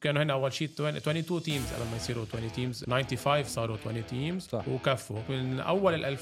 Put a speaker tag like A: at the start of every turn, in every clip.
A: كانوا هنا اول شيء 20 22 تيمز لما يصيروا 20 تيمز 95 صاروا 20 تيمز
B: صح.
A: وكفوا من اول ال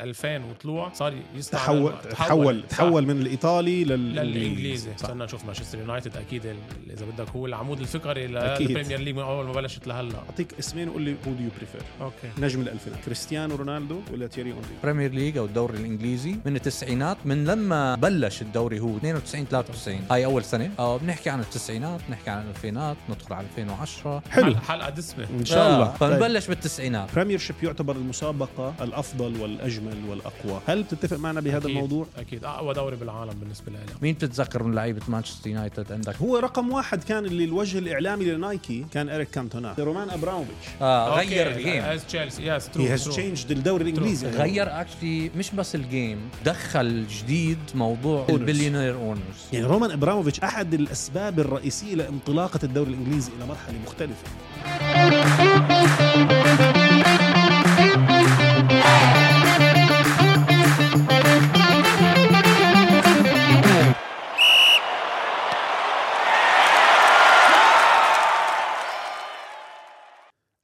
A: 2000 وطلوع صار يصنع
C: تحول تحول
A: صح.
C: تحول من الايطالي
A: للانجليزي
C: للانجليزي صح
A: صرنا نشوف مانشستر يونايتد اكيد ال- اذا بدك هو العمود الفقري
C: أكيد.
A: للبريمير ليج من اول ما بلشت لهلا
C: اعطيك اسمين وقول لي هو دو يو بريفير
A: اوكي
C: نجم الالفينات كريستيانو رونالدو ولا تيري اونري
B: بريمير ليج او الدوري الانجليزي من التسعينات من لما بلش الدوري هو 92 93 هاي اول سنه آه بنحكي عن التسعينات بنحكي عن الالفينات ندخل على 2010
C: حلو
A: حلقة- حلقه دسمه
C: ان شاء الله
B: آه،
C: طيب.
B: فنبلش بالتسعينات
C: بريمير شيب يعتبر المسابقة الأفضل والأجمل والأقوى هل بتتفق معنا بهذا
A: أكيد.
C: الموضوع؟
A: اكيد اقوى دوري بالعالم بالنسبه لنا
B: مين بتتذكر من لعيبه مانشستر يونايتد عندك
C: هو رقم واحد كان اللي الوجه الإعلامي لنايكي كان إريك كانتونا رومان أبراموفيتش
B: آه غير الجيم
A: از تشيلسي يس
C: He has changed الدوري الإنجليزي
B: غير اكشلي مش بس الجيم دخل جديد موضوع البليونير اونرز
C: يعني رومان ابراموفيتش احد الاسباب الرئيسيه لانطلاقه الدوري الانجليزي الى مرحله مختلفه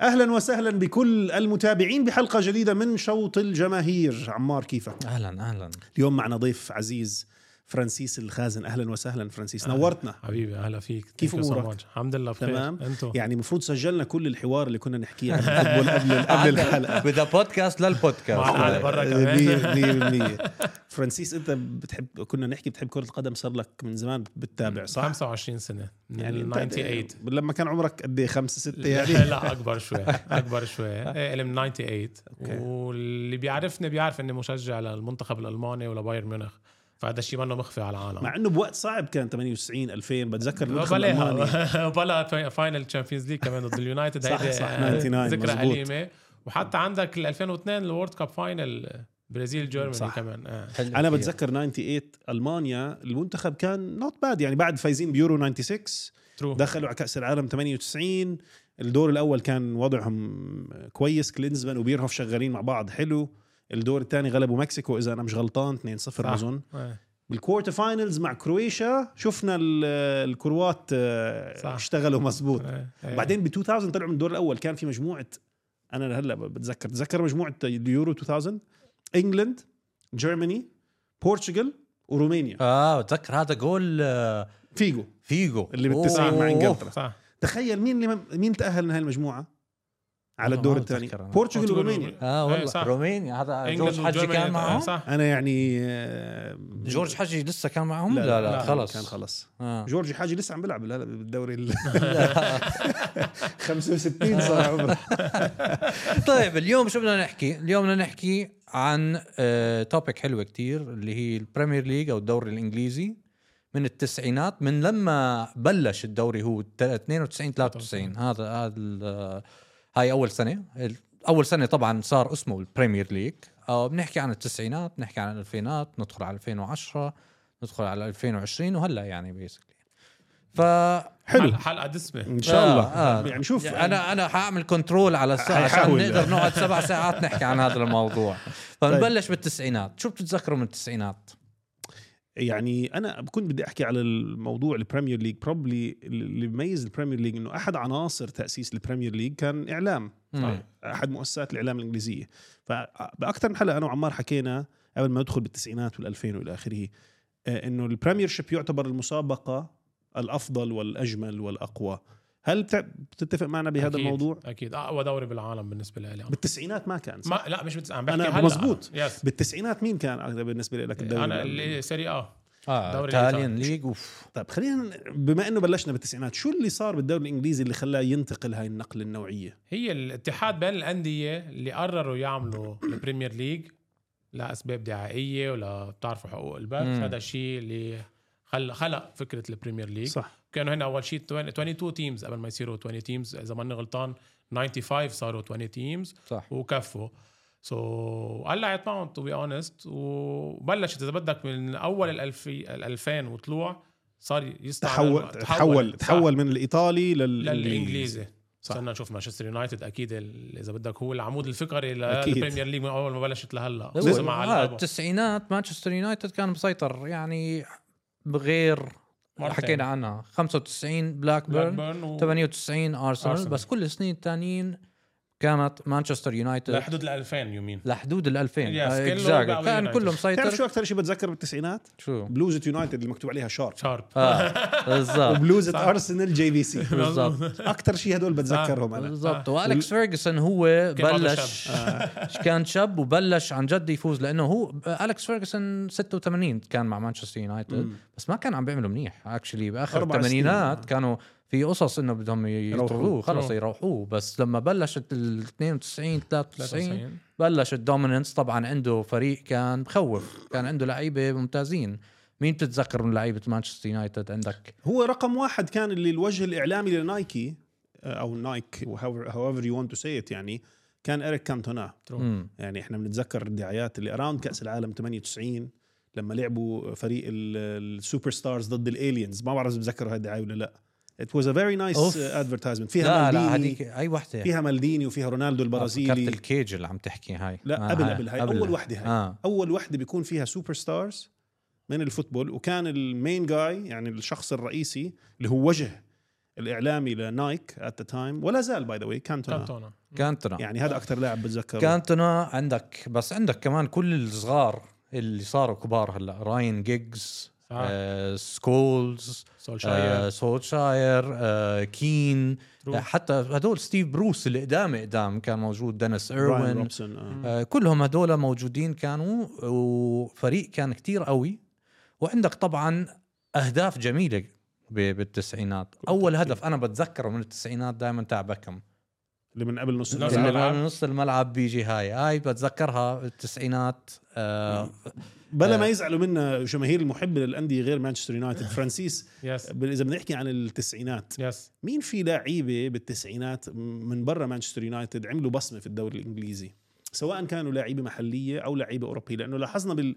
C: اهلا وسهلا بكل المتابعين بحلقه جديده من شوط الجماهير عمار كيفك
B: اهلا اهلا
C: اليوم معنا ضيف عزيز فرانسيس الخازن اهلا وسهلا فرانسيس نورتنا
A: حبيبي اهلا فيك
C: كيف
A: Thank you so
C: أمورك؟
A: much. الحمد لله بخير
C: تمام
A: انتم
C: يعني المفروض سجلنا كل الحوار اللي كنا نحكيه عن الفوتبول قبل قبل الحلقه
B: بذا بودكاست للبودكاست
A: مع العالم. برا
C: آه،
A: كمان.
C: 100% فرانسيس انت بتحب كنا نحكي بتحب كره القدم صار لك من زمان بتتابع صح
A: 25 سنه من
C: يعني
A: يعني
C: أنت
A: 98
C: لما كان عمرك قد ايه خمسة ستة
A: لا,
C: يعني
A: لا اكبر شوي اكبر شوي إيه، انا من 98 واللي بيعرفني بيعرف اني مشجع للمنتخب الالماني ولبايرن ميونخ فهذا الشيء منه مخفي على العالم
C: مع انه بوقت صعب كان 98 2000 بتذكر المنتخب الالماني
A: بلا بلا في- فاينل تشامبيونز ليج كمان ضد اليونايتد
C: صح،
A: هيدي
C: صح، 99
A: ذكرى
C: مزبوط.
A: أليمة وحتى عندك ال 2002 الورد كاب فاينل برازيل جيرماني
C: صح.
A: كمان آه.
C: انا
B: طيب.
C: بتذكر 98 المانيا المنتخب كان نوت باد يعني بعد فايزين بيورو 96
A: ترو
C: دخلوا على كاس العالم 98 الدور الاول كان وضعهم كويس كلينزمان وبيرهوف شغالين مع بعض حلو الدور الثاني غلبوا مكسيكو اذا انا مش غلطان 2-0
A: صح.
C: اظن
A: آه.
C: بالكوارتر فاينلز مع كرواتيا شفنا ال- الكروات آه،
A: صح.
C: اشتغلوا مزبوط
A: آه. آه.
C: بعدين ب 2000 طلعوا من الدور الاول كان في مجموعه انا هلا بتذكر تذكر مجموعه اليورو 2000 انجلند جيرماني بورتوغال ورومانيا
A: آه.
B: اه بتذكر هذا جول آه،
C: فيجو
B: فيجو
C: اللي بالتسعين مع
B: أوه.
C: إنجلترا.
A: صح
C: تخيل مين اللي مين تاهل من هالمجموعه على
B: والله
C: الدور
B: ما
C: الثاني
B: بتذكر أنا.
C: بورتوغال ورومانيا
B: اه
A: إيه،
B: والله
A: صح.
B: رومانيا هذا
A: إنجلند
B: جورج حجي
A: وجيرماني،
B: كان
A: آه،
B: معهم
A: صح
C: انا يعني آه،
B: جورج حجي لسه كان معهم لا لا, خلص
C: كان خلص
B: آه.
C: جورج حاجي لسه عم بيلعب هلا بالدوري ال 65 صار عمره
B: طيب اليوم شو بدنا نحكي؟ اليوم بدنا نحكي عن آه، توبيك حلوه كتير اللي هي البريمير ليج او الدوري الانجليزي من التسعينات من لما بلش الدوري هو ت- 92 93 هذا هذا ال- هاي اول سنه ال- اول سنه طبعا صار اسمه البريمير ليج آه، بنحكي عن التسعينات بنحكي عن الالفينات ندخل على 2010 ندخل على 2020 وهلا يعني بيسكلي ف
C: حلو
A: حلقة- حلقه دسمه
C: ان شاء الله
B: آه، آه.
C: يعني شوف
B: انا انا حاعمل كنترول على الساعه عشان
C: حيحاول.
A: يعني.
B: نقدر نقعد سبع ساعات نحكي عن هذا الموضوع
A: طيب.
B: فنبلش بالتسعينات شو بتتذكروا من التسعينات
C: يعني انا كنت بدي احكي على الموضوع البريمير ليج بروبلي اللي بيميز البريمير ليج انه احد عناصر تاسيس البريمير ليج كان اعلام
A: طيب.
B: مم.
C: احد إيه. مؤسسات الاعلام الانجليزيه فباكثر من حلقه انا وعمار حكينا قبل ما ندخل بالتسعينات وال2000 والى اخره آه، انه البريمير شيب يعتبر المسابقه الافضل والاجمل والاقوى هل بتع- بتتفق معنا بهذا
A: أكيد،
C: الموضوع
A: اكيد اقوى دوري بالعالم بالنسبه لي
C: بالتسعينات ما كان صح؟
A: ما لا مش بتسعة عم بحكي
C: أنا
A: هلا
C: مزبوط.
A: يس
C: بالتسعينات مين كان أغلب بالنسبه لك الدوري
A: انا
C: الأول؟
A: اللي سيري اه
B: اه
A: دوري
B: تاليان ليج اوف
C: طيب خلينا بما انه بلشنا بالتسعينات شو اللي صار بالدوري الانجليزي اللي خلاه ينتقل هاي النقله النوعيه
A: هي الاتحاد بين الانديه اللي قرروا يعملوا البريمير ليج لاسباب دعائيه ولا بتعرفوا حقوق البث
B: مم.
A: هذا الشيء اللي خل- خلق فكره البريمير ليج
C: صح
A: كانوا هنا اول شيء 20 22 تيمز قبل ما يصيروا 20 تيمز اذا ماني غلطان 95 صاروا 20 تيمز
B: صح
A: وكفوا سو so, قلعت معهم تو بي اونست وبلشت اذا بدك من اول ال 2000 وطلوع صار يستعمل
C: تحول تحول
A: صح،
C: تحول من الايطالي للانجليزي
A: للانجليزي
C: صح.
A: صرنا نشوف مانشستر يونايتد اكيد ال- اذا بدك هو العمود الفقري
C: أكيد.
A: للبريمير ليج من اول ما بلشت لهلا
B: هو-
A: لازم على
B: آه،
A: اللعبة.
B: التسعينات مانشستر يونايتد كان مسيطر يعني بغير
A: مرتين.
B: حكينا عنها 95 بلاك بيرن
A: بلاكبيرن و...
B: 98 ارسنال
A: أرسنال.
B: بس كل السنين التانيين كانت مانشستر يونايتد
A: لحدود ال 2000 يمين
B: لحدود ال 2000
A: Yes,
B: آه،
A: كله
B: exactly.
A: بقى
B: كان
A: يونايتد.
B: كله
C: بتعرف
B: مسيطر
C: شو اكثر شيء بتذكر بالتسعينات؟
B: شو
C: بلوزه يونايتد اللي مكتوب عليها شارب
A: شارب
B: اه بالضبط
C: وبلوزه
A: صح.
C: ارسنال جي في سي
B: بالضبط
C: اكثر شيء هدول بتذكرهم انا
B: بالضبط والكس فيرجسون هو
A: كان بعده
B: بلش آه، كان شاب وبلش عن جد يفوز لانه هو الكس فيرجسون 86 كان مع مانشستر يونايتد
C: مم.
B: بس ما كان عم بيعملوا منيح اكشلي باخر
C: أربع
B: الثمانينات
C: سنين. آه.
B: كانوا في قصص انه بدهم يطردوه
C: يروحوه.
B: خلص
A: True.
B: يروحوه بس لما بلشت ال 92 93
A: 93
B: بلش الدوميننس طبعا عنده فريق كان بخوف كان عنده لعيبه ممتازين مين بتتذكر من لعيبه مانشستر يونايتد عندك
C: هو رقم واحد كان اللي الوجه الاعلامي لنايكي آه، او نايك however يو ونت تو سي يعني كان اريك كانتونا
B: مم.
C: يعني احنا بنتذكر الدعايات اللي اراوند كاس العالم 98 لما لعبوا فريق ال- السوبر ستارز ضد الالينز ما بعرف اذا بتذكروا هاي الدعايه ولا لا ات واز ا فيري نايس
B: أوف.
C: ادفرتايزمنت uh, فيها
B: لا لا
C: مالديني
B: هذيك اي وحده
C: فيها مالديني وفيها رونالدو
B: كرت
C: البرازيلي
B: آه، الكيج اللي عم تحكي هاي
C: لا
B: آه،
C: قبل قبل هاي اول وحده هاي
B: اه
C: اول وحده بيكون فيها سوبر ستارز من الفوتبول وكان المين جاي يعني الشخص الرئيسي اللي هو وجه الاعلامي لنايك ات ذا تايم ولا زال باي ذا واي كانتونا
A: كانتونا
B: كانتونا
C: يعني هذا اكثر لاعب بتذكره
B: كانتونا عندك بس عندك كمان كل الصغار اللي صاروا كبار هلا راين جيجز
A: صح.
B: آه سكولز آه
A: سولشاير
B: سولشاير آه كين
A: True.
B: آه حتى هدول ستيف بروس اللي قدام قدام كان موجود دينيس
C: براين
B: ايروين
C: روبسون آه.
B: آه، كلهم هدول موجودين كانوا وفريق كان كتير قوي وعندك طبعا اهداف جميله ب- بالتسعينات اول هدف انا بتذكره من التسعينات دائما تاع بكم
C: اللي من قبل نص
A: نزل.
B: اللي
A: الملعب.
B: من نص الملعب بيجي هاي هاي بتذكرها بالتسعينات آه
C: بلا ما يزعلوا منا جماهير المحبه للانديه غير مانشستر يونايتد فرانسيس
A: يس
C: ب- اذا بدنا نحكي عن التسعينات
A: يس
C: مين في لعيبه بالتسعينات م- من برا مانشستر يونايتد عملوا بصمه في الدوري الانجليزي سواء كانوا لعيبه محليه او لعيبه اوروبيه لانه لاحظنا بال...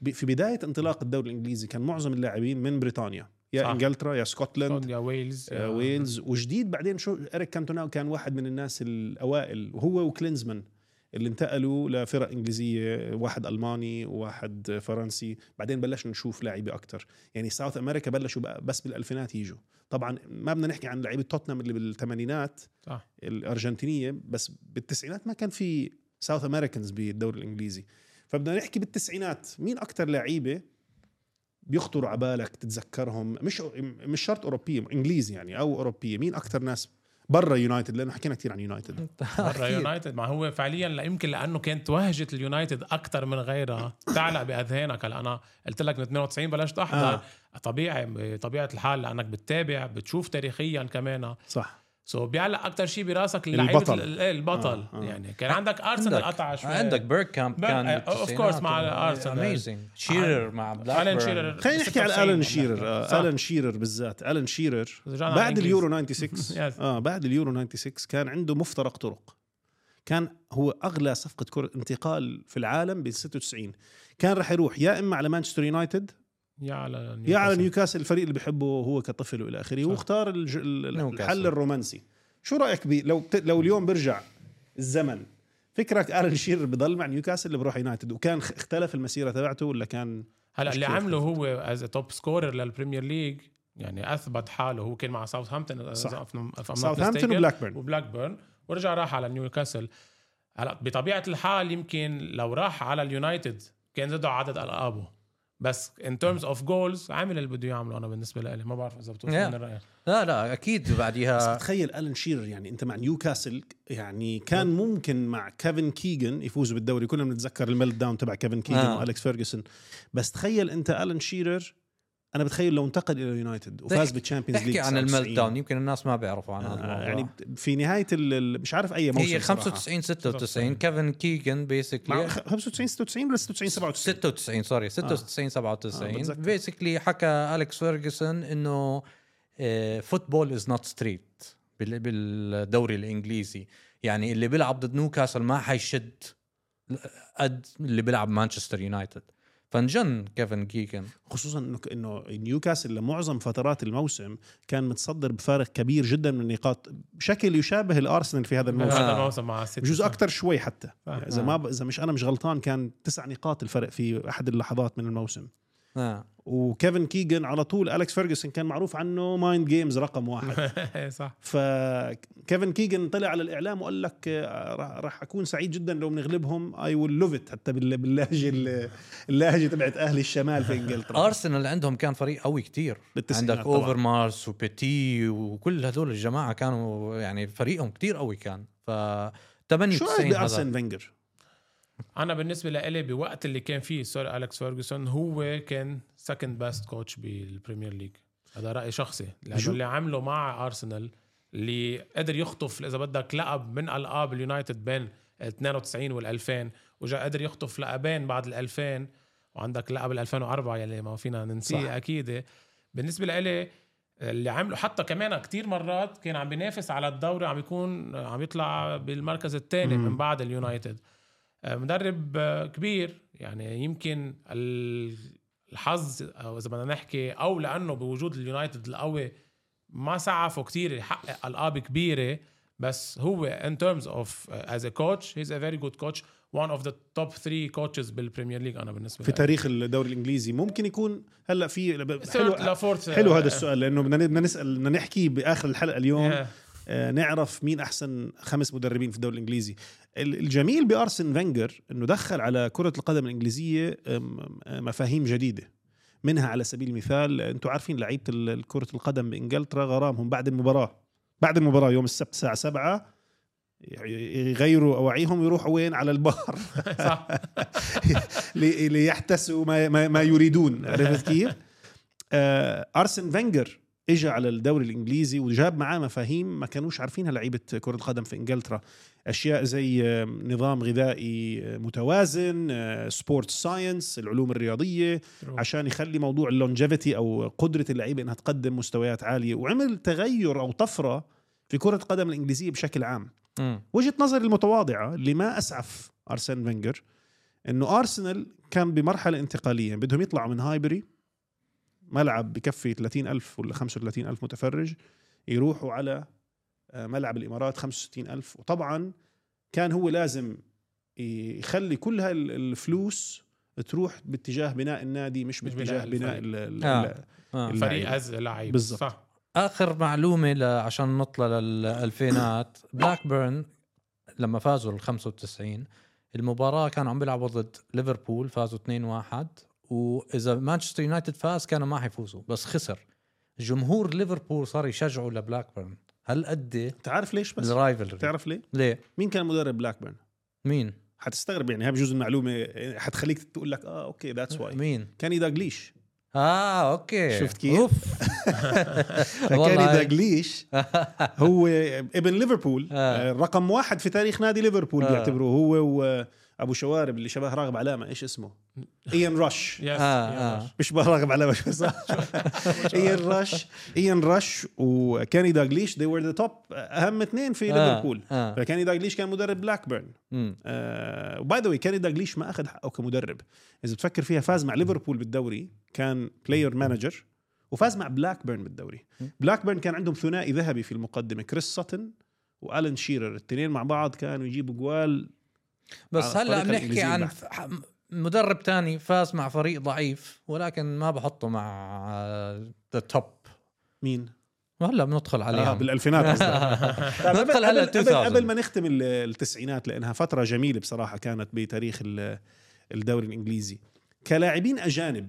C: ب- في بدايه انطلاق الدوري الانجليزي كان معظم اللاعبين من بريطانيا يا
A: صح.
C: صح. انجلترا يا سكوتلند
A: يا ويلز
C: آه، ويلز وجديد بعدين شو اريك كانتونا كان واحد من الناس الاوائل وهو وكلينزمان اللي انتقلوا لفرق انجليزيه واحد الماني وواحد فرنسي بعدين بلشنا نشوف لعيبه اكثر يعني ساوث امريكا بلشوا بقى- بس بالالفينات يجوا طبعا ما بدنا نحكي عن لعيبه توتنهام اللي بالثمانينات
A: صح.
C: الارجنتينيه بس بالتسعينات ما كان في ساوث امريكانز بالدوري الانجليزي فبدنا نحكي بالتسعينات مين اكثر لعيبه بيخطروا على بالك تتذكرهم مش مش شرط اوروبيه انجليزي يعني او اوروبيه مين اكثر ناس برا يونايتد لانه حكينا كثير عن يونايتد
A: برا يونايتد ما هو فعليا لا يمكن لانه كانت وهجه اليونايتد اكثر من غيرها تعلق باذهانك هلا انا قلت لك من 92 بلشت
C: آه.
A: احضر طبيعي بطبيعه الحال لانك بتتابع بتشوف تاريخيا كمان
C: صح
A: سو بيعلق اكثر شيء براسك لعيبه
C: البطل.
A: ال- إيه، البطل
C: آه، آه.
A: يعني كان عندك ارسنال قطع شوي
B: عندك بيرك كامب
A: بيرك-
B: كان
A: آه، of course مع آه، الأرسنال.
B: اميزنج شيرر مع بلاك
A: ألان شيرر.
C: خلينا نحكي على
A: 96
C: الان شيرر
A: يعني صح.
C: آه، الان شيرر بالذات الان شيرر
A: رجعنا على
C: بعد
A: الإنجليز.
C: اليورو 96
A: Yes.
C: اه بعد اليورو 96 كان عنده مفترق طرق كان هو اغلى صفقه كره انتقال في العالم ب 96 كان راح يروح يا اما على مانشستر يونايتد
A: يا على
C: يا على
A: نيوكاسل.
C: نيوكاسل الفريق اللي بحبه هو كطفل والى اخره
A: صح.
C: واختار الج... ال-
B: نيوكاسل.
C: الحل الرومانسي شو رايك بي لو بت... لو اليوم برجع الزمن فكرك الان شيرر بضل مع نيوكاسل اللي بروح يونايتد وكان خ- اختلف المسيره تبعته ولا كان
A: هلا اللي
C: مشكلة
A: عمله هو از توب سكورر للبريمير ليج يعني اثبت حاله هو كان مع ساوثهامبتون
C: صح.
A: ساوثهامبتون
C: ساوثهامبتون وبلاكبيرن
A: وبلاك بيرن ورجع راح على نيوكاسل هلا بطبيعه الحال يمكن لو راح على اليونايتد كان زادوا عدد القابه بس ان ترمز اوف جولز عامل اللي بده يعمله انا بالنسبه لي ما بعرف اذا بتوصلني
B: Yeah.
A: الراي
B: لا لا اكيد
C: بس
B: بعديها
C: بتخيل الان شيرر يعني انت مع نيوكاسل يعني كان ممكن مع كيفن كيجن يفوزوا بالدوري كلنا بنتذكر الميلت داون تبع كيفن كيجن
B: آه.
C: آه. والكس فيرجسون بس تخيل انت الان شيرر انا بتخيل لو انتقل الى يونايتد وفاز
B: تحكي-
C: بالتشامبيونز ليج
B: تحكي عن الميلت داون يمكن الناس ما بيعرفوا عن هذا الموضوع
C: يعني في نهايه ال- ال- مش عارف اي موسم
B: هي 95 96 كيفن كيجن
C: مع
B: بيسكلي
C: خ- 95 96 ولا 96 97
B: 96 سوري 96
C: آه،
B: 97
C: بتذكر.
B: بيسكلي حكى اليكس فيرجسون انه آه، فوتبول از نوت ستريت بالدوري الانجليزي يعني اللي بيلعب ضد نيوكاسل ما حيشد قد اللي بيلعب مانشستر يونايتد فنجن كيفن كيجن
C: خصوصا انه ك- انه نيوكاسل لمعظم فترات الموسم كان متصدر بفارق كبير جدا من النقاط بشكل يشابه الارسنال في هذا الموسم
B: آه.
A: هذا الموسم مع السيتي
C: بجوز اكثر شوي حتى
A: آه.
C: اذا ما ب... اذا مش انا مش غلطان كان تسع نقاط الفرق في احد اللحظات من الموسم
B: آه.
C: وكيفن كيجن على طول الكس فيرجسون كان معروف عنه مايند جيمز رقم واحد
A: إيه صح
C: فكيفن كيجن طلع على الاعلام وقال لك آه، راح راح اكون سعيد جدا لو بنغلبهم اي ويل لوف ات حتى بال- باللهجه ال- اللهجه تبعت اهل الشمال في انجلترا
B: ارسنال عندهم كان فريق قوي كتير
C: بالتسعينات
B: عندك
C: طبعاً.
B: اوفر مارس وبيتي وكل هذول الجماعه كانوا يعني فريقهم كتير قوي كان ف 98
C: شو رايك
B: هذا
C: بارسن فينجر؟
A: انا بالنسبه لإلي بوقت اللي كان فيه سير اليكس فيرجسون هو كان سكند باست كوتش بالبريمير ليج هذا راي شخصي لانه
C: شو؟
A: اللي عمله مع ارسنال اللي قدر يخطف اذا بدك لقب من القاب اليونايتد بين 92 وال 2000 وجا قدر يخطف لقبين بعد ال 2000 وعندك لقب ال 2004 يلي ما فينا
C: صح.
A: ننسيه اكيد بالنسبه لإلي اللي عمله حتى كمان كتير مرات كان عم بينافس على الدوري عم يكون عم يطلع بالمركز الثاني
C: مم.
A: من بعد اليونايتد آه، مدرب آه، كبير يعني يمكن ال- الحظ او اذا بدنا نحكي او لانه بوجود اليونايتد القوي ما سعفه كتير يحقق القاب كبيره بس هو ان terms آه، اوف از ا كوتش هيز ا فيري جود كوتش one اوف ذا توب 3 كوتشز بالبريمير ليج انا بالنسبه
C: في
A: لي
C: تاريخ الدوري الانجليزي ممكن يكون هلا في
A: Third
C: حلو,
A: لا fourth،
C: حلو
A: آه،
C: هذا السؤال لانه بدنا بدنا نسال بدنا نحكي باخر الحلقه اليوم
A: آه،
C: آه، نعرف مين احسن خمس مدربين في الدوري الانجليزي ال- الجميل بارسن فينجر انه دخل على كره القدم الانجليزيه آم، آم، مفاهيم جديده منها على سبيل المثال انتم عارفين لعيبه ال- كره القدم بانجلترا غرامهم بعد المباراه بعد المباراه يوم السبت الساعه 7 يغيروا اواعيهم ويروحوا وين على البحر
A: صح
C: لي- ليحتسوا ما, ما, ما يريدون عرفت كيف؟ آه ارسن فينجر اجى على الدوري الانجليزي وجاب معاه مفاهيم ما كانوش عارفينها لعيبه كره القدم في انجلترا اشياء زي آه، نظام غذائي آه، متوازن سبورت ساينس العلوم الرياضيه عشان يخلي موضوع اللونجيفيتي او قدره اللعيبه انها تقدم مستويات عاليه وعمل تغير او طفره في كره القدم الانجليزيه بشكل عام
B: مم.
C: وجهه نظري المتواضعه اللي ما اسعف ارسن فينجر انه ارسنال كان بمرحله انتقاليه بدهم يطلعوا من هايبري ملعب بكفي 30 ألف ولا 35 ألف متفرج يروحوا على آه، ملعب الإمارات 65 ألف وطبعا كان هو لازم يخلي كل هالفلوس تروح باتجاه بناء النادي مش
A: مش بناء
C: باتجاه بناء
A: الفريق.
C: ال- ال-
B: آه. آه.
C: اللاعب.
A: فريق از لعيب
C: بالضبط.
A: صح
B: اخر معلومه ل... عشان نطلع للالفينات بلاكبيرن لما فازوا ال 95 المباراه كانوا عم بيلعبوا ضد ليفربول فازوا 2-1 واذا مانشستر يونايتد فاز كانوا ما حيفوزوا بس خسر جمهور ليفربول صار يشجعوا لبلاكبيرن هل قد
C: تعرف ليش بس
B: الرايفلري
C: تعرف ليه
B: ليه
C: مين كان مدرب بلاكبيرن
B: مين
C: حتستغرب يعني هاي بجوز المعلومه حتخليك تقول لك اه اوكي ذاتس واي
B: مين
C: كاني داغليش
B: اه اوكي
C: شفت كيف؟
B: اوف
C: فكاني
B: والله.
C: داغليش هو ابن ليفربول
B: آه.
C: رقم واحد في تاريخ نادي ليفربول
B: آه.
C: بيعتبروه هو وابو شوارب اللي شبه راغب علامه ايش اسمه؟ ايان رش
A: يس
B: آه، آه.
A: يس.
C: مش شبه راغب علامه شو صح؟ ايان رش ايان رش وكاني داغليش they were ذا توب اهم اثنين في
B: آه،
C: ليفربول طيب.
B: آه.
C: فكاني داغليش كان مدرب بلاكبيرن
B: مم.
C: وباي ذا واي كاني داغليش ما اخذ حقه كمدرب اذا بتفكر فيها فاز مع ليفربول بالدوري كان بلاير مانجر وفاز مع بلاكبيرن بالدوري بلاكبيرن كان عندهم ثنائي ذهبي في المقدمه كريس ساتن والان شيرر الاثنين مع بعض كانوا يجيبوا جوال
B: بس
C: على
B: هلا
C: الطريقة
B: بنحكي
C: الإنجليزية
B: عن
C: البحتة.
B: ح- مدرب تاني فاز مع فريق ضعيف ولكن ما بحطه مع آه، ذا توب
C: مين؟
B: وهلا بندخل عليهم
C: آه بالالفينات قصدك. طيب،
B: ندخل
C: قبل-
B: هلا
C: قبل-
B: 2000.
C: قبل ما نختم ال- التسعينات لانها فتره جميله بصراحه كانت بتاريخ ال- الدوري الانجليزي كلاعبين اجانب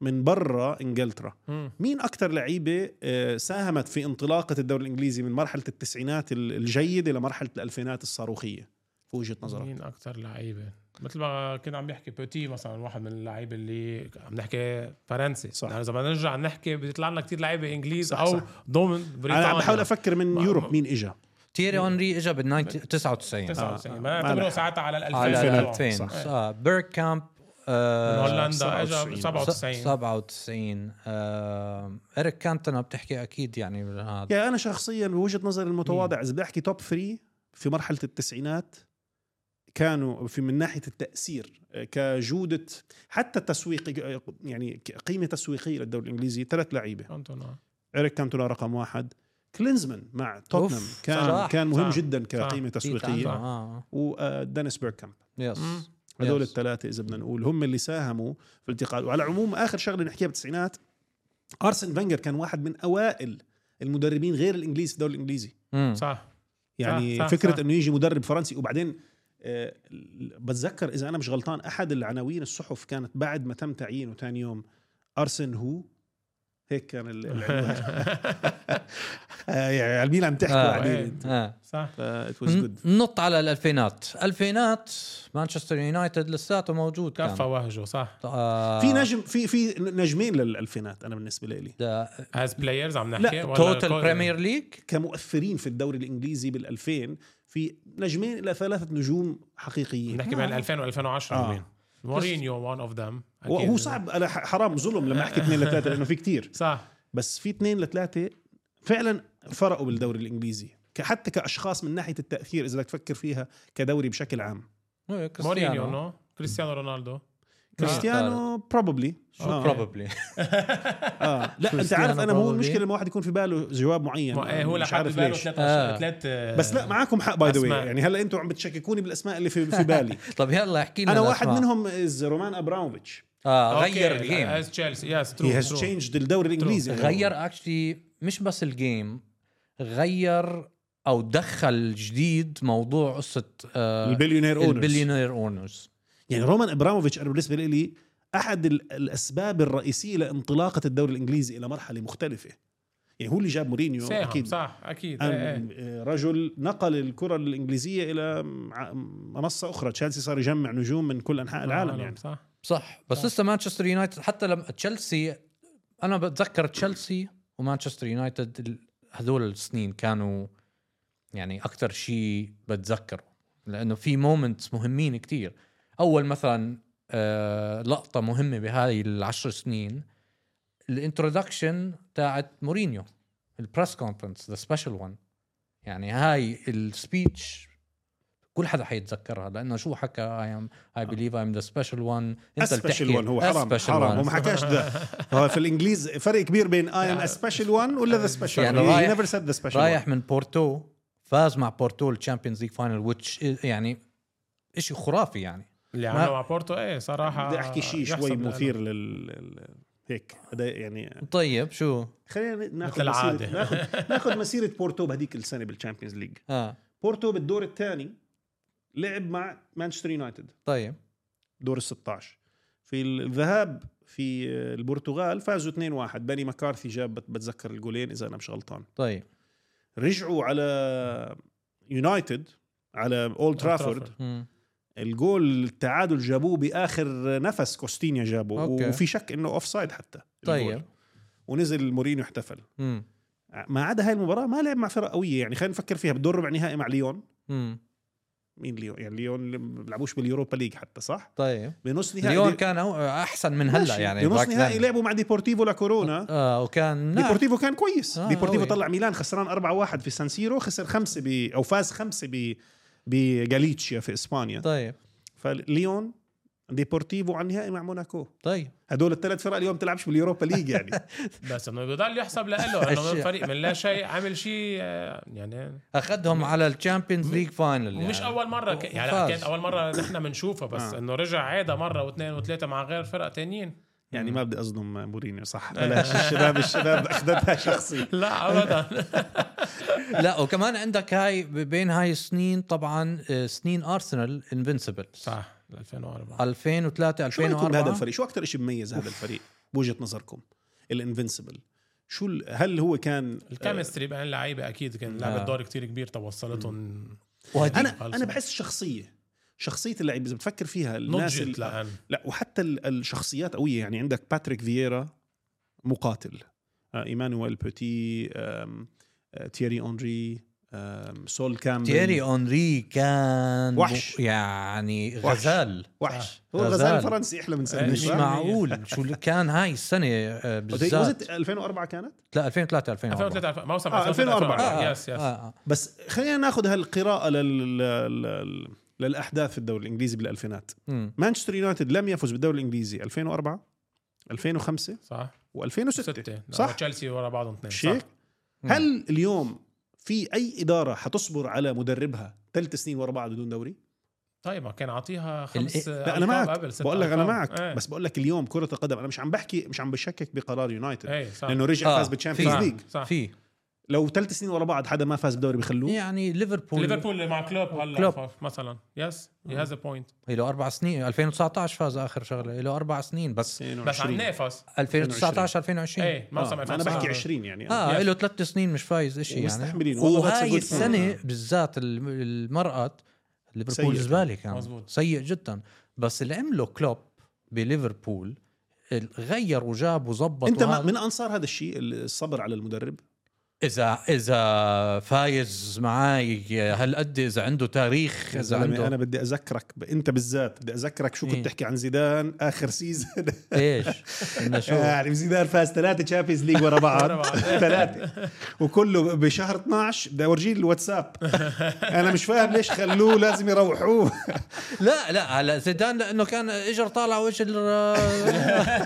C: من برا انجلترا
A: مم.
C: مين أكتر لعيبة آه، ساهمت في انطلاقة الدوري الإنجليزي من مرحلة التسعينات ال- الجيدة لمرحلة الألفينات الصاروخية في وجهة نظرك
A: مين اكثر لعيبه مثل ما كنا عم نحكي بوتي مثلا واحد من اللعيبه اللي عم نحكي فرنسي
C: صح.
A: صح يعني اذا بدنا نرجع نحكي بيطلع لنا كثير لعيبه انجليز
C: صح،
A: صح او
C: صح.
A: صح. ضمن بريطانيا
C: أنا عم بحاول أفكر من
A: ما-
C: يوروب
A: ما-
C: مين إجا
B: تيري اونري اجى بال 99
A: 99
C: آه،
A: بدنا
C: آه،
A: نعتبره
C: ما-
A: ساعتها على ال 2000
B: على
A: طبعاً.
B: 2000
A: صح.
B: آه بيرك كامب
A: من
B: آه
A: هولندا اجى
C: 97.
A: 97
B: 97 آه اريك كانتنا بتحكي اكيد يعني هذا
C: يا أنا شخصيا بوجهة نظري المتواضعة إذا بدي أحكي توب ثري في مرحلة التسعينات كانوا في من ناحية التأثير آه، كجودة حتى التسويق آه، يعني ك- قيمة تسويقية للدوري الإنجليزي ثلاث لعيبة
A: كانتونا.
C: إيريك كانتونا رقم واحد كلينزمان مع توتنهام
B: أوف،
C: كان
B: صح،
C: كان مهم
A: صح،
C: جدا كقيمة
B: أكيد
C: تسويقية
B: عنده، آه
C: ودانيس بيركامب
B: يس
A: مم.
C: هدول
B: Yes.
C: الثلاثه اذا بدنا نقول هم اللي ساهموا في الانتقال وعلى العموم اخر شغله نحكيها بالتسعينات ارسن فينجر كان واحد من اوائل المدربين غير الانجليز في الدوري الانجليزي
B: مم.
A: صح
C: يعني
A: صح، صح،
C: فكره
A: صح.
C: انه يجي مدرب فرنسي وبعدين آه، بتذكر اذا انا مش غلطان احد العناوين الصحف كانت بعد ما تم تعيينه ثاني يوم ارسن هو هيك كان ال- العنوان آه، يعني على مين عم تحكوا
B: آه،
A: إيه.
C: بعدين
B: آه.
A: صح
C: ات واز جود
B: نط على الالفينات الفينات مانشستر يونايتد لساته موجود كان
A: كفى وهجه صح
B: آه،
C: في نجم في في نجمين للالفينات انا بالنسبه لي
B: ده
A: از بلايرز عم
C: لا،
A: نحكي ولا
B: توتال
A: الكل؟
B: بريمير ليج
C: كمؤثرين في الدوري الانجليزي بال2000 في نجمين الى ثلاثه نجوم حقيقيين
A: نحكي بين 2000 و2010
C: آه.
A: آه. مورينيو وان اوف ذم
C: وهو صعب انا ح- حرام ظلم لما احكي اثنين لثلاثه لانه في كتير
A: صح
C: بس في اثنين لثلاثه فعلا فرقوا بالدوري الانجليزي ك- حتى كاشخاص من ناحيه التاثير اذا بدك تفكر فيها كدوري بشكل عام
A: آه.
B: إيه،
A: مورينيو
B: كريستيانو
A: نو كريستيانو رونالدو
C: كريستيانو بروبلي
B: بروبلي
C: اه لا انت
B: كريستيانو
C: عارف انا مو
B: probably.
C: المشكله لما واحد يكون في باله جواب معين
A: ما- إيه، هو
C: مش
A: لحد
C: عارف
A: باله
C: ليش
A: ثلاث
B: آه.
A: ثلاث
C: بس لا معاكم حق باي ذا
A: أسماء.
C: يعني هلا انتم عم بتشككوني بالاسماء اللي في, في بالي
B: طب يلا احكي لنا
C: انا واحد
B: الأسماء.
C: منهم از رومان ابراموفيتش
A: Ah,
B: آه غير الجيم
A: از تشيلسي يس
C: هي هاز تشينجد الدوري الانجليزي
B: غير اكشلي مش بس الجيم غير او دخل جديد موضوع قصه آه
C: البليونير اونرز
B: البليونير اونرز
C: يعني رومان ابراموفيتش انا بالنسبه لي احد ال- الاسباب الرئيسيه لانطلاقه الدوري الانجليزي الى مرحله مختلفه يعني هو اللي جاب مورينيو
A: اكيد
C: اكيد
A: صح
C: Ah,
A: اكيد إيه، إيه.
C: أم- رجل نقل الكره الانجليزيه الى ع- منصه اخرى تشيلسي صار يجمع نجوم من كل
B: آه،
C: انحاء العالم يعني
A: صح
B: صح بس لسه مانشستر يونايتد حتى لما تشيلسي انا بتذكر تشيلسي ومانشستر يونايتد ال- هذول السنين كانوا يعني اكثر شيء بتذكره لانه في مومنتس مهمين كتير اول مثلا آه لقطه مهمه بهاي العشر سنين الانترودكشن تاعت مورينيو البريس كونفرنس ذا سبيشال وان يعني هاي السبيتش كل حدا حيتذكرها لانه شو حكى اي ام اي بليف اي ام ذا سبيشال وان انت اللي
C: سبيشال
B: بتحكي
C: وان هو حرام
B: special
C: حرام
B: one.
C: هو ما حكاش ده هو في الانجليز فرق كبير بين اي ام سبيشال وان ولا ذا سبيشال
B: يعني
C: يعني
B: رايح-
C: نيفر سيد ذا سبيشال
B: رايح من بورتو فاز مع بورتو الشامبيونز ليج فاينل وتش يعني شيء خرافي يعني
A: اللي
B: ما-
A: عمله مع بورتو ايه صراحه
C: بدي احكي شيء
A: يحسب
C: شوي
A: لإله.
C: مثير لل لل- هيك بدي- يعني
B: طيب شو
C: خلينا ناخذ
A: مثل العادة.
C: مسيرة- ناخذ ناخذ مسيره بورتو بهذيك السنه بالشامبيونز ليج
B: اه
C: بورتو بالدور الثاني لعب مع مانشستر يونايتد
B: طيب
C: دور ال 16 في الذهاب في البرتغال فازوا 2-1 بني مكارثي جاب بت- بتذكر الجولين اذا انا مش غلطان
B: طيب
C: رجعوا على يونايتد على اولد
A: ترافورد.
C: ترافورد
B: مم.
C: الجول التعادل جابوه باخر نفس كوستينيا جابه
B: أوكي.
C: وفي شك انه اوف سايد حتى الجول.
B: طيب
C: ونزل مورينيو احتفل
B: مم.
C: ما عدا هاي المباراه ما لعب مع فرق قويه يعني خلينا نفكر فيها بدور ربع نهائي مع ليون
B: مم.
C: مين ليون يعني ليون اللي ما بيلعبوش باليوروبا ليج حتى صح
B: طيب
C: بنص نهائي
B: ليون
C: دي-
B: كان أو- احسن من هلا
C: ماشي.
B: يعني
C: بنص
B: back
C: نهائي
B: then.
C: لعبوا مع ديبورتيفو لا كورونا
B: اه وكان نعم.
C: ديبورتيفو كان كويس
B: آه،
C: آه ديبورتيفو
B: قوي.
C: طلع ميلان خسران 4-1 في سانسيرو خسر خمسه ب او فاز خمسه ب بجاليتشيا في اسبانيا
B: طيب
C: فليون ديبورتيفو على النهائي مع موناكو
B: طيب
C: هدول الثلاث فرق اليوم تلعبش باليوروبا ليج يعني
A: بس انه بضل يحسب لإله انه من
B: أشياء.
A: فريق من لا شيء عامل شيء آه، يعني
B: اخذهم على الشامبيونز ليج فاينل يعني.
A: ومش اول مره ك... يعني لا،
B: وفاز.
A: كانت اول مره نحن بنشوفها بس
C: آه.
A: انه رجع عادة مره واثنين وثلاثه مع غير فرق تانيين
C: يعني ما بدي اصدم مورينيو صح بلاش الشباب الشباب اخذتها شخصي
A: لا ابدا
B: لا وكمان عندك هاي ب- بين هاي السنين طبعا آه، سنين ارسنال انفنسبل
A: صح
B: Ah,
A: 2004
B: 2003
C: شو رايكم بهذا
B: 2004
C: الفريق؟ شو اكثر شيء بميز هذا الفريق بوجهه نظركم؟ الانفنسبل شو ال- هل هو كان
A: الكيمستري بين اللعيبه اكيد كان لعبت
B: آه.
A: دور كتير كبير توصلتهم
B: وهدي-
C: انا
A: خلص.
C: انا بحس شخصيه شخصيه اللعيبه اذا بتفكر فيها الناس
A: نضجت
C: ال...
A: لان
C: لا وحتى ال- الشخصيات قويه يعني عندك باتريك فييرا مقاتل آه، ايمانويل بوتي آم، آه، تيري اونري آم، سول كامبل
B: تيري اونري كان
C: وحش.
B: يعني
C: وحش.
B: غزال
C: وحش
B: آه،
C: هو
B: غزال.
C: غزال فرنسي احلى من سنه
B: مش
A: صح؟
B: معقول شو اللي كان هاي السنه آه، بالذات
C: وزت 2004 كانت
B: لا 2003 2004
A: 2003 موسم
C: آه،
A: 2004
B: آه،
A: يس يس
B: آه، آه.
C: بس خلينا ناخذ هالقراءه لل... لل... للاحداث في الدوري الانجليزي بالالفينات
B: مم.
C: مانشستر يونايتد لم يفز بالدوري الانجليزي 2004 2005
A: صح
C: و2006
A: ستة
C: صح؟
A: صح تشيلسي ورا بعضهم اثنين
C: شيك
A: صح
C: هل اليوم في اي اداره حتصبر على مدربها ثلاث سنين ورا بعض بدون دوري؟
A: طيب ما كان عاطيها خمس
C: إيه، لا انا
A: ألقاب
C: معك
A: قبل، ست
C: بقول لك انا
A: ألقاب.
C: معك
A: إيه.
C: بس بقول لك اليوم كره القدم انا مش عم بحكي مش عم بشكك بقرار يونايتد
A: ايه صح
C: لانه رجع
B: آه،
C: فاز بالشامبيونز
B: في-
C: ليج
A: صح
B: في
C: لو ثلاث سنين ورا بعض حدا ما فاز بدوري بخلوه
B: يعني ليفربول
A: ليفربول مع كلوب هلا
B: كلوب.
A: ف- مثلا يس هي هاز بوينت
B: له اربع سنين 2019 فاز اخر شغله له اربع سنين بس
A: بس عم
C: 22.
A: نافس
B: 2019 2020
A: ايه موسم
C: نعم، آه. انا
A: 2019.
C: بحكي 20 يعني
B: اه
A: Yes.
B: له ثلاث سنين مش فايز شيء يعني
C: ومستحملين. والله that's a
B: وهاي
C: good
B: السنه بالذات الم- المرأة ليفربول
C: سيء.
B: زباله كان
A: مزبوط.
B: سيء جدا بس اللي عمله كلوب بليفربول ال- غير وجاب وظبط
C: انت ما
B: وهذا-
C: من انصار هذا الشيء الصبر على المدرب
B: اذا اذا فايز معاي هالقد اذا عنده تاريخ
C: يا
B: اذا
C: زلمه
B: عنده
C: انا يعني بدي اذكرك ب... انت بالذات بدي اذكرك شو كنت
B: إيه.
C: تحكي عن زيدان اخر سيزون
B: ايش انه شو
C: يعني زيدان فاز ثلاثه تشامبيونز ليج ورا
A: ورا
C: بعض
A: بعض.
C: ثلاثه وكله بشهر 12 بدي اورجيه الواتساب انا مش فاهم ليش خلوه لازم يروحوه
B: لا لا هلا زيدان لانه كان اجر طالع وجه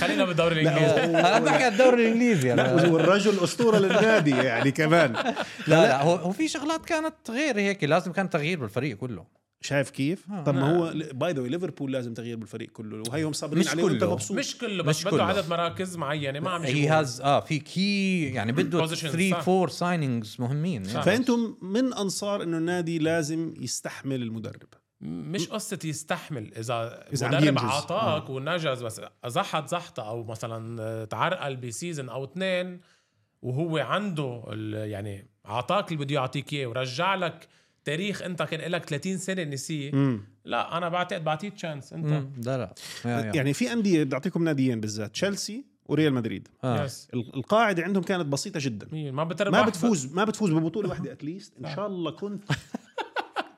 A: خلينا بالدوري الانجليزي
B: انا بحكي عن الدوري الانجليزي أنا.
C: لا والرجل اسطوره للنادي يعني كمان
B: لا لا هو هو في شغلات كانت غير هيك لازم كان تغيير بالفريق كله
C: شايف كيف؟
B: آه.
C: طب ما هو باي ذا ليفربول لازم تغيير بالفريق كله وهيهم صابرين
B: مش
C: عليه وانت
B: كله.
C: مبسوط
A: مش كله بس
B: مش
A: بده
B: كله.
A: عدد مراكز معينه ما عم
B: هي
A: يجيبوها.
B: هاز اه في كي يعني بده
A: Positions،
B: 3
A: صح.
B: 4 سايننجز مهمين يعني.
C: فانتم من انصار انه النادي لازم يستحمل المدرب
A: مش قصة يستحمل إذا إذا
C: إذا عم
A: مدرب
C: ينجز.
A: عطاك ونجز بس زحط زحطة أو مثلا تعرقل بسيزن أو اثنين وهو عنده ال- يعني عطاك اللي بده يعطيك إياه ورجع لك تاريخ أنت كان لك 30 سنة نسيه
C: امم
A: لا أنا بعتقد بعطيه تشانس أنت
B: مم، لا لا يا- يا.
C: يعني في انديه بدي اعطيكم ناديين بالذات تشيلسي وريال مدريد
B: آه.
A: يس
C: ال- القاعده عندهم كانت بسيطه جدا
A: مين ما بتربح
C: ما بتفوز ما بتفوز ببطوله واحده اتليست ان شاء الله كنت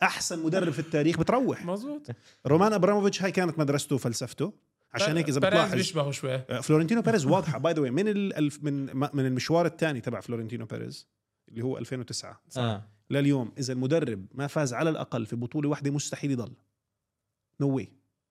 C: احسن مدرب في التاريخ بتروح
A: مزبوط
C: رومان ابراموفيتش هاي كانت مدرسته وفلسفته عشان هيك اذا
A: بيريز
C: بتلاحظ
A: بيشبهه شوي
C: آه، فلورنتينو بيريز واضحه باي ذا من ال- الف- من ما- من المشوار الثاني تبع فلورنتينو بيريز اللي هو 2009
B: آه.
C: لليوم اذا المدرب ما فاز على الاقل في بطوله واحده مستحيل يضل نو واي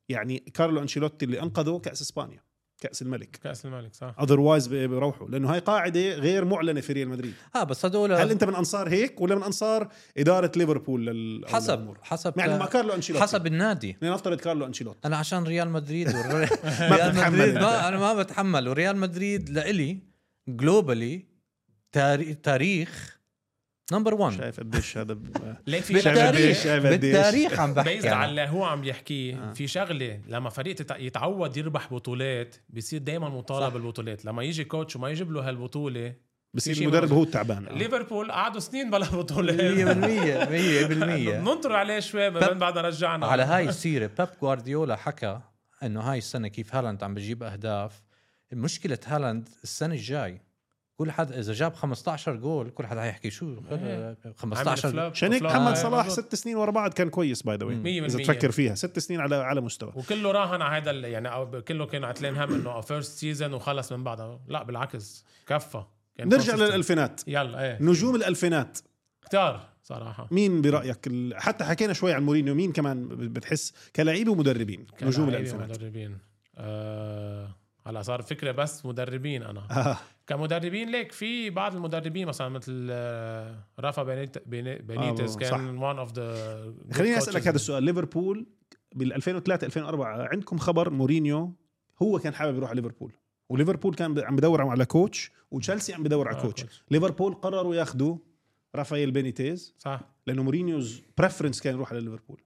C: يعني كارلو انشيلوتي اللي انقذه كاس اسبانيا كاس الملك
A: كأس الملك صح
C: اذروايز بيروحوا لانه هاي قاعده غير معلنه في ريال مدريد
B: اه بس هدول
A: نعم.
C: هل انت من انصار هيك ولا من انصار اداره ليفربول لل
B: حسب
C: للأمور؟
B: حسب
C: يعني
A: آه،
C: مع كارلو انشيلوتي
B: حسب النادي
C: لنفترض كارلو انشيلوتي
B: انا عشان ريال مدريد والر- ريال
C: بتتحمل
B: مدريد
C: أنت.
B: ما انا ما بتحمل وريال مدريد لإلي جلوبالي تاري- تاريخ نمبر 1
C: شايف قديش هذا ب-
A: ليك في شغلة-
B: بالتاريخ
C: شايف قديش.
B: بالتاريخ عم بحكي
A: بيزد
B: أنا.
A: على اللي هو عم يحكيه آه. في شغله لما فريق تت- يتعود يربح بطولات بصير دائما مطالب
B: صح.
A: بالبطولات لما يجي كوتش وما يجيب له هالبطوله
C: بصير
A: شيء
C: المدرب
A: موجود.
C: هو التعبان آه.
A: ليفربول قعدوا سنين بلا
B: 100%
A: بطولات
B: 100%
A: ننطر عليه شوي من بعد رجعنا
B: على هاي السيره بيب جوارديولا حكى انه هاي السنه كيف هالاند عم بجيب اهداف مشكله هالاند السنه الجاي كل حدا اذا جاب 15 جول كل حدا حيحكي شو
A: إيه.
B: 15
C: عشان هيك محمد صلاح
A: ست
C: ست سنين ورا بعض كان كويس باي ذا
A: آه، مية
C: اذا
A: بالمية.
C: تفكر فيها ست سنين على على مستوى
A: وكله راهن على هذا ال- يعني أو كله كان عتلان هم انه فيرست سيزون وخلص من بعدها لا بالعكس كفى كان
C: نرجع
A: consistent.
C: للالفينات
A: يلا ايه
C: نجوم الالفينات
A: اختار صراحه
C: مين برايك ال- حتى حكينا شوي عن مورينيو مين كمان ب- بتحس كلاعيبه ومدربين نجوم
A: كلاعبين
C: الالفينات
A: مدربين آه، هلا صار فكره بس مدربين انا
C: آه.
A: كمدربين ليك في بعض المدربين مثلا مثل آه، رافا بينيت- بيني- بينيتز
C: آه، صح.
A: كان ون اوف ذا
C: خليني اسالك هذا السؤال ليفربول بال 2003 2004 عندكم خبر مورينيو هو كان حابب يروح على ليفربول وليفربول كان ب- عم بدور على كوتش وتشيلسي عم بدور على
A: آه،
C: كوتش
A: كوتش.
C: ليفربول قرروا ياخذوا رافائيل بينيتيز
A: صح
C: لانه مورينيوز بريفرنس كان يروح على ليفربول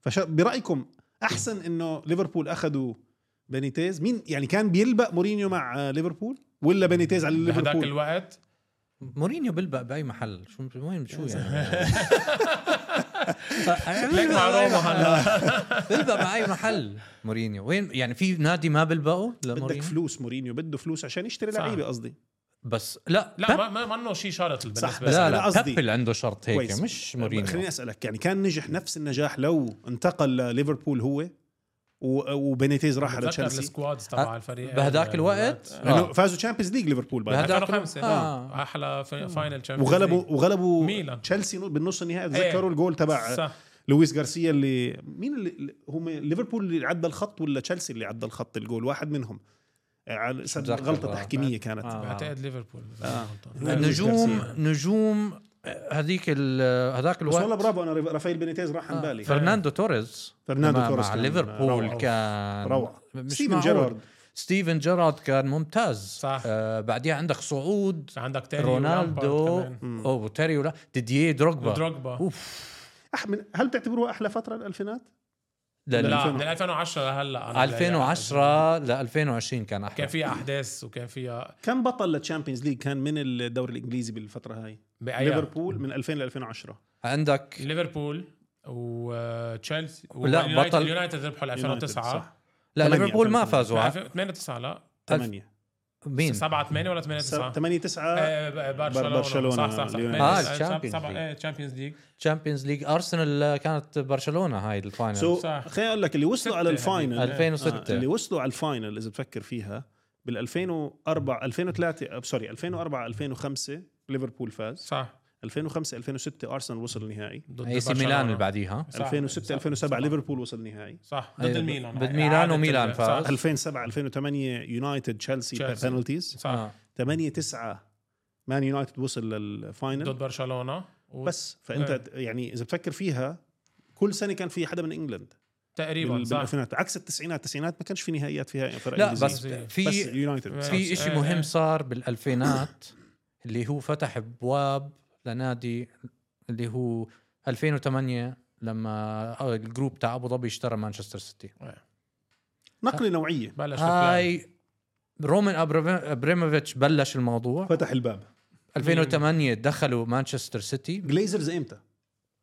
C: فش برايكم احسن انه ليفربول اخذوا بينيتيز مين يعني كان بيلبق مورينيو مع آه، ليفربول ولا بينيتيز على
A: بهداك
C: ليفربول
A: الوقت
B: مورينيو بلبق باي محل شو وين شو يعني
A: لك مع روما هلا
B: بلبق باي محل مورينيو وين يعني في نادي ما بلبقه
C: بدك
B: لمورينيو
C: فلوس مورينيو بده فلوس عشان يشتري
A: صح.
C: لعيبه قصدي
B: بس لا
A: لا ما- ما منه شيء شرط بالنسبه
C: بس
A: لي
B: لا
C: أنا
B: لا
C: قصدي-
B: بيب اللي عنده شرط هيك
C: كويس.
B: مش مورينيو
C: خليني اسالك يعني كان نجح نفس النجاح لو انتقل لليفربول هو و- وبينيتيز راح على آه،
A: بتذكر
C: تشيلسي
A: السكوادز تبع
B: أه،
A: الفريق
B: بهداك الوقت
A: آه.
C: لانه فازوا تشامبيونز ليج ليفربول بعد
B: بهداك
A: 2005
B: آه.
A: آه. احلى في- فاينل تشامبيونز
C: وغلبوا
A: ليج.
C: وغلبوا
A: ميلان.
C: تشيلسي نو- بالنص النهائي
B: إيه.
C: تذكروا الجول تبع
A: صح
C: لويس غارسيا اللي مين اللي اللي- هم ليفربول اللي عدى الخط ولا تشيلسي اللي عدى الخط الجول واحد منهم آه، على-
B: متذكر
C: غلطه
B: والله.
C: تحكيميه كانت
B: آه.
A: بعتقد ليفربول إذا
C: آه.
A: ما غلطان.
C: لويس
B: نجوم
C: غارسيا.
B: نجوم آه، هذيك ال- آه، هذاك
C: بس والله
B: الوقت آه،
C: برافو انا رافائيل بينيتيز راح عن بالي
B: فرناندو توريز
C: فرناندو
B: مع-
C: توريز
B: مع
C: كان
B: ليفربول
C: روعة.
B: كان
C: روعة
B: مش
C: ستيفن
B: معقول.
C: جيرارد
B: ستيفن جيرارد كان ممتاز
A: صح.
B: آه بعديها عندك صعود
A: عندك تيري
B: رونالدو
A: ولامبارد
C: مم.
B: او تيري ولا ديدييه
A: كمان.
B: دروجبا
A: دروجبا
B: اوف
C: أح- من- هل بتعتبروها احلى فتره الالفينات؟
B: لا لا
A: لا
C: 2000
A: من 2010 لهلا أنا يعني
B: 2010 ل 2020 كان احلى
A: كان فيها احداث وكان فيها
C: كم بطل للتشامبيونز ليج كان من الدوري الانجليزي بالفتره هاي؟
A: بايام
C: ليفربول من 2000 ل 2010
B: عندك
A: ليفربول آه، وتشيلسي
B: لا،
A: واليونايتد-
B: بطل-
A: اليونايتد ربحوا ل 2009
C: صح
B: لا
C: ثمانية،
B: ليفربول ما
C: ثمانية.
B: فازوا على-
A: 8 9 لا
C: 8
B: مين
A: 7 8 ولا آه، 8 9
C: 8 9
A: برشلونه
C: برشلونة،
A: صح صح صح
C: اليونايتد.
B: آه، الشامبيونز ليج.
A: الشامبيونز ليج
B: تشامبيونز ليج ارسنال آه، كانت برشلونه هاي الفاينل
C: سو
A: صح.
C: خليني اقول لك اللي وصلوا
A: ستة
C: على
A: هدول.
C: الفاينل
B: 2006.
C: آه، اللي وصلوا على الفاينل اذا بتفكر فيها بال 2004 2003 آه، سوري 2004 2005 ليفربول فاز
A: صح
C: 2005 2006 ارسنال وصل النهائي
A: ضد
B: اي سي
A: برشلونة.
B: ميلان اللي بعديها
A: صح.
C: 2006
A: صح.
C: 2007 ليفربول وصل نهائي
A: صح ضد
B: أيوة،
A: الميلان
B: ضد ميلان وميلان
A: إعادة-
B: فاز.
A: صح،
C: 2007 2008 يونايتد تشيلسي
A: تشيلسي.
C: بنالتيز
A: صح
B: آه.
C: 8 9 مان يونايتد وصل للفاينل
A: ضد برشلونه و-
C: بس فانت
A: إيه.
C: ت- يعني اذا بتفكر فيها كل سنه كان في حدا من انجلند
A: تقريبا
C: بال-
A: صح
C: بالالفينات عكس التسعينات التسعينات ما كانش في نهائيات فيها فرق
B: إيه، لا
C: إنجليزية.
B: بس
A: إنجليزي.
B: في آه.
C: بس يونايتد
A: بس-
B: في شيء
A: إيه، إيه.
B: مهم صار بالالفينات اللي هو فتح ابواب لنادي اللي هو 2008 لما آه، الجروب تاع ابو ظبي اشترى مانشستر سيتي
C: نقله نوعيه
A: بلش يعني. الفلان.
B: هاي رومان أبرا- ابريموفيتش بلش الموضوع
C: فتح الباب
B: 2008 دخلوا مانشستر سيتي
C: جليزرز امتى؟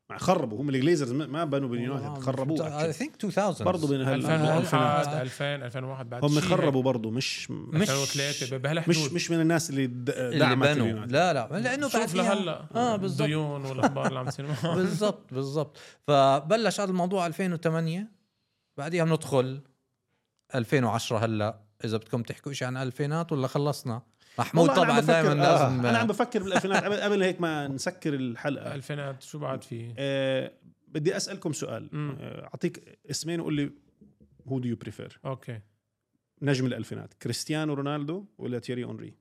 C: مع خربوا هم الجليزرز ما- ما بنوا باليونايتد خربوه
B: اي ثينك 2000
C: برضه بين هال-
A: 2000
C: الألفينات.
B: آه،
A: 2000 2000 2001 بعد
C: هم
A: شيء
C: خربوا برضه مش
A: هيك.
B: مش
A: 2003
C: مش
A: بهالحدود
C: مش من الناس اللي د-
B: اللي
C: دعمت
B: بنوا
C: اليونايتد
B: لا لا لانه بعد
A: شوف لهلا
B: اه بالضبط
A: ديون والاخبار اللي عم تصير معها.
B: بالضبط بالضبط فبلش هذا الموضوع 2008 بعديها بندخل 2010 هلا اذا بدكم تحكوا شيء عن الفينات ولا خلصنا محمود
C: والله أنا
B: طبعا
C: عم بفكر-
B: دائما
C: آه،
B: لازم
C: انا عم بفكر بالالفينات قبل- قبل هيك ما نسكر الحلقه
A: الفينات شو بعد في
C: آه، بدي اسالكم سؤال
A: مم.
C: آه، اعطيك اسمين وقول لي هو دو يو بريفير
A: اوكي
C: نجم الالفينات كريستيانو رونالدو ولا تيري اونري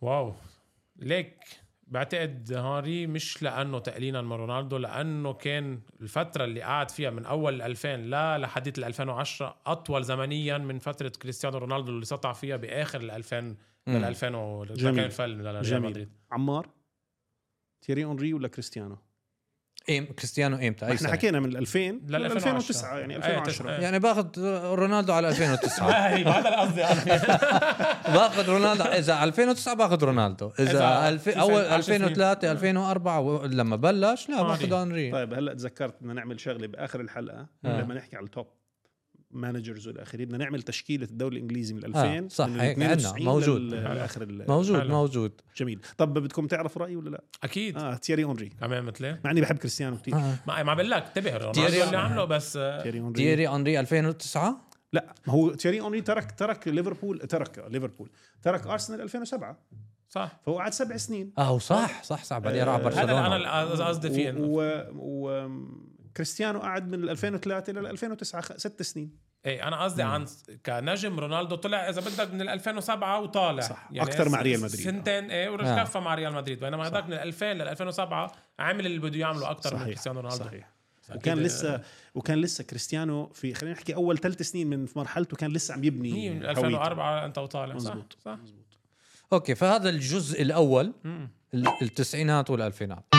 A: واو ليك بعتقد هنري مش لانه تقليلا من رونالدو لانه كان الفتره اللي قعد فيها من اول 2000 لا لحديت ال 2010 اطول زمنيا من فتره كريستيانو رونالدو اللي سطع فيها باخر ال 2000 لل 2000 و-
C: جميل.
A: كان فل لريال
C: جميل.
A: مدريد
C: عمار تيري اونري ولا كريستيانو
B: ايم كريستيانو ايمتى اي
C: احنا
B: سنه
C: حكينا من 2000 لل
A: 2010.
C: 2009 يعني
A: آه،
C: 2010
A: تسعة.
B: يعني باخذ رونالدو على 2009
A: هي هذا القصد يعني
B: باخذ رونالدو اذا 2009 باخذ رونالدو
A: إذا
B: اذا الف...
A: تسعة-
B: اول
A: عشر سنين.
B: 2003 2004 و- لما بلش لا
A: هنري.
B: باخذ انري
C: طيب هلا تذكرت بدنا نعمل شغله باخر الحلقه
B: آه.
C: لما نحكي على التوب مانجرز والاخرين بدنا نعمل تشكيله الدوري الانجليزي من
B: آه،
C: 2000
B: صح،
C: من
B: هيك عنا،
C: 92
B: موجود.
C: لل- لاخر ال-
B: موجود
A: حلو.
B: موجود
C: جميل طب بدكم تعرفوا رايي ولا لا
A: اكيد
C: اه تيري اونري
A: كمان مثلي
C: مع اني بحب كريستيانو كثير
B: آه.
A: إيه؟ ما ما بقول لك انتبه
B: دياري-
A: رونالدو اللي عمله بس آه،
C: تيري اونري
B: ديري انري 2009
C: لا ما هو تيري اونري ترك ترك ليفربول ترك ليفربول ترك ارسنال 2007
A: صح
C: فهو قعد سبع سنين
B: اه صح صح صح بعدين
C: آه،
B: راح
C: هذا
A: هذا اللي انا
B: برشلونه
A: اللي قصدي فيه إنه-
C: و- و- وكريستيانو قعد من 2003 لل 2009 خ- ست سنين
A: ايه انا قصدي عن كنجم رونالدو طلع اذا بدك من ال 2007 وطالع يعني
C: صح. أكتر مع ريال مدريد.
A: سنتين ايه
B: آه.
A: ورجع كفى مع ريال مدريد بينما هذاك من 2000 لل 2007 عمل اللي بده يعمله اكثر من كريستيانو رونالدو
C: صحيح وكان
A: أكيد،
C: لسه وكان لسه كريستيانو في خلينا نحكي اول ثلاث سنين من في مرحلته كان لسه عم يبني
A: هي من
C: هويته.
A: 2004 انت وطالع صح
C: مزبوط.
A: صح
B: اوكي فهذا الجزء الاول
A: مم.
B: ال- التسعينات والالفينات